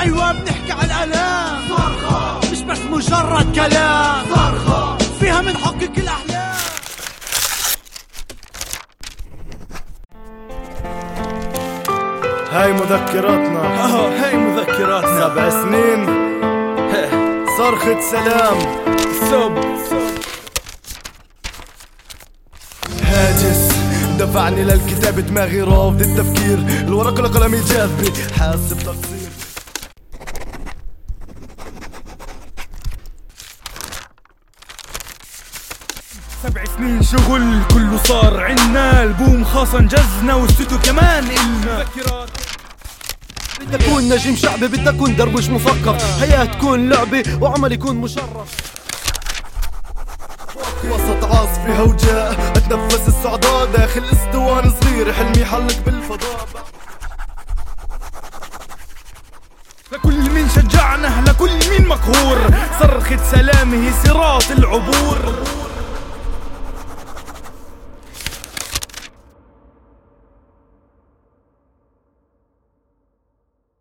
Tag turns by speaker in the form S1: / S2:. S1: ايوه بنحكي على الالام صرخة مش بس مجرد كلام صرخة فيها من حقك الاحلام
S2: هاي مذكراتنا
S3: اهو هاي مذكراتنا
S2: سبع سنين صرخة سلام
S3: سب
S2: هاجس دفعني للكتاب دماغي رافض التفكير الورق لقلمي جاذبي حاسب تقصير
S3: سبع سنين شغل كله صار عنا البوم خاصة نجزنا واستوديو كمان إلنا مذكرات
S2: بدك تكون نجم شعبي بدك تكون درويش مثقف حياة تكون لعبة وعمل يكون مشرف وسط عاصفة هوجاء أتنفس السعداء داخل اسطوانة صغيرة حلمي حلق بالفضاء
S3: لكل من شجعنا لكل من مقهور صرخة سلامه صراط العبور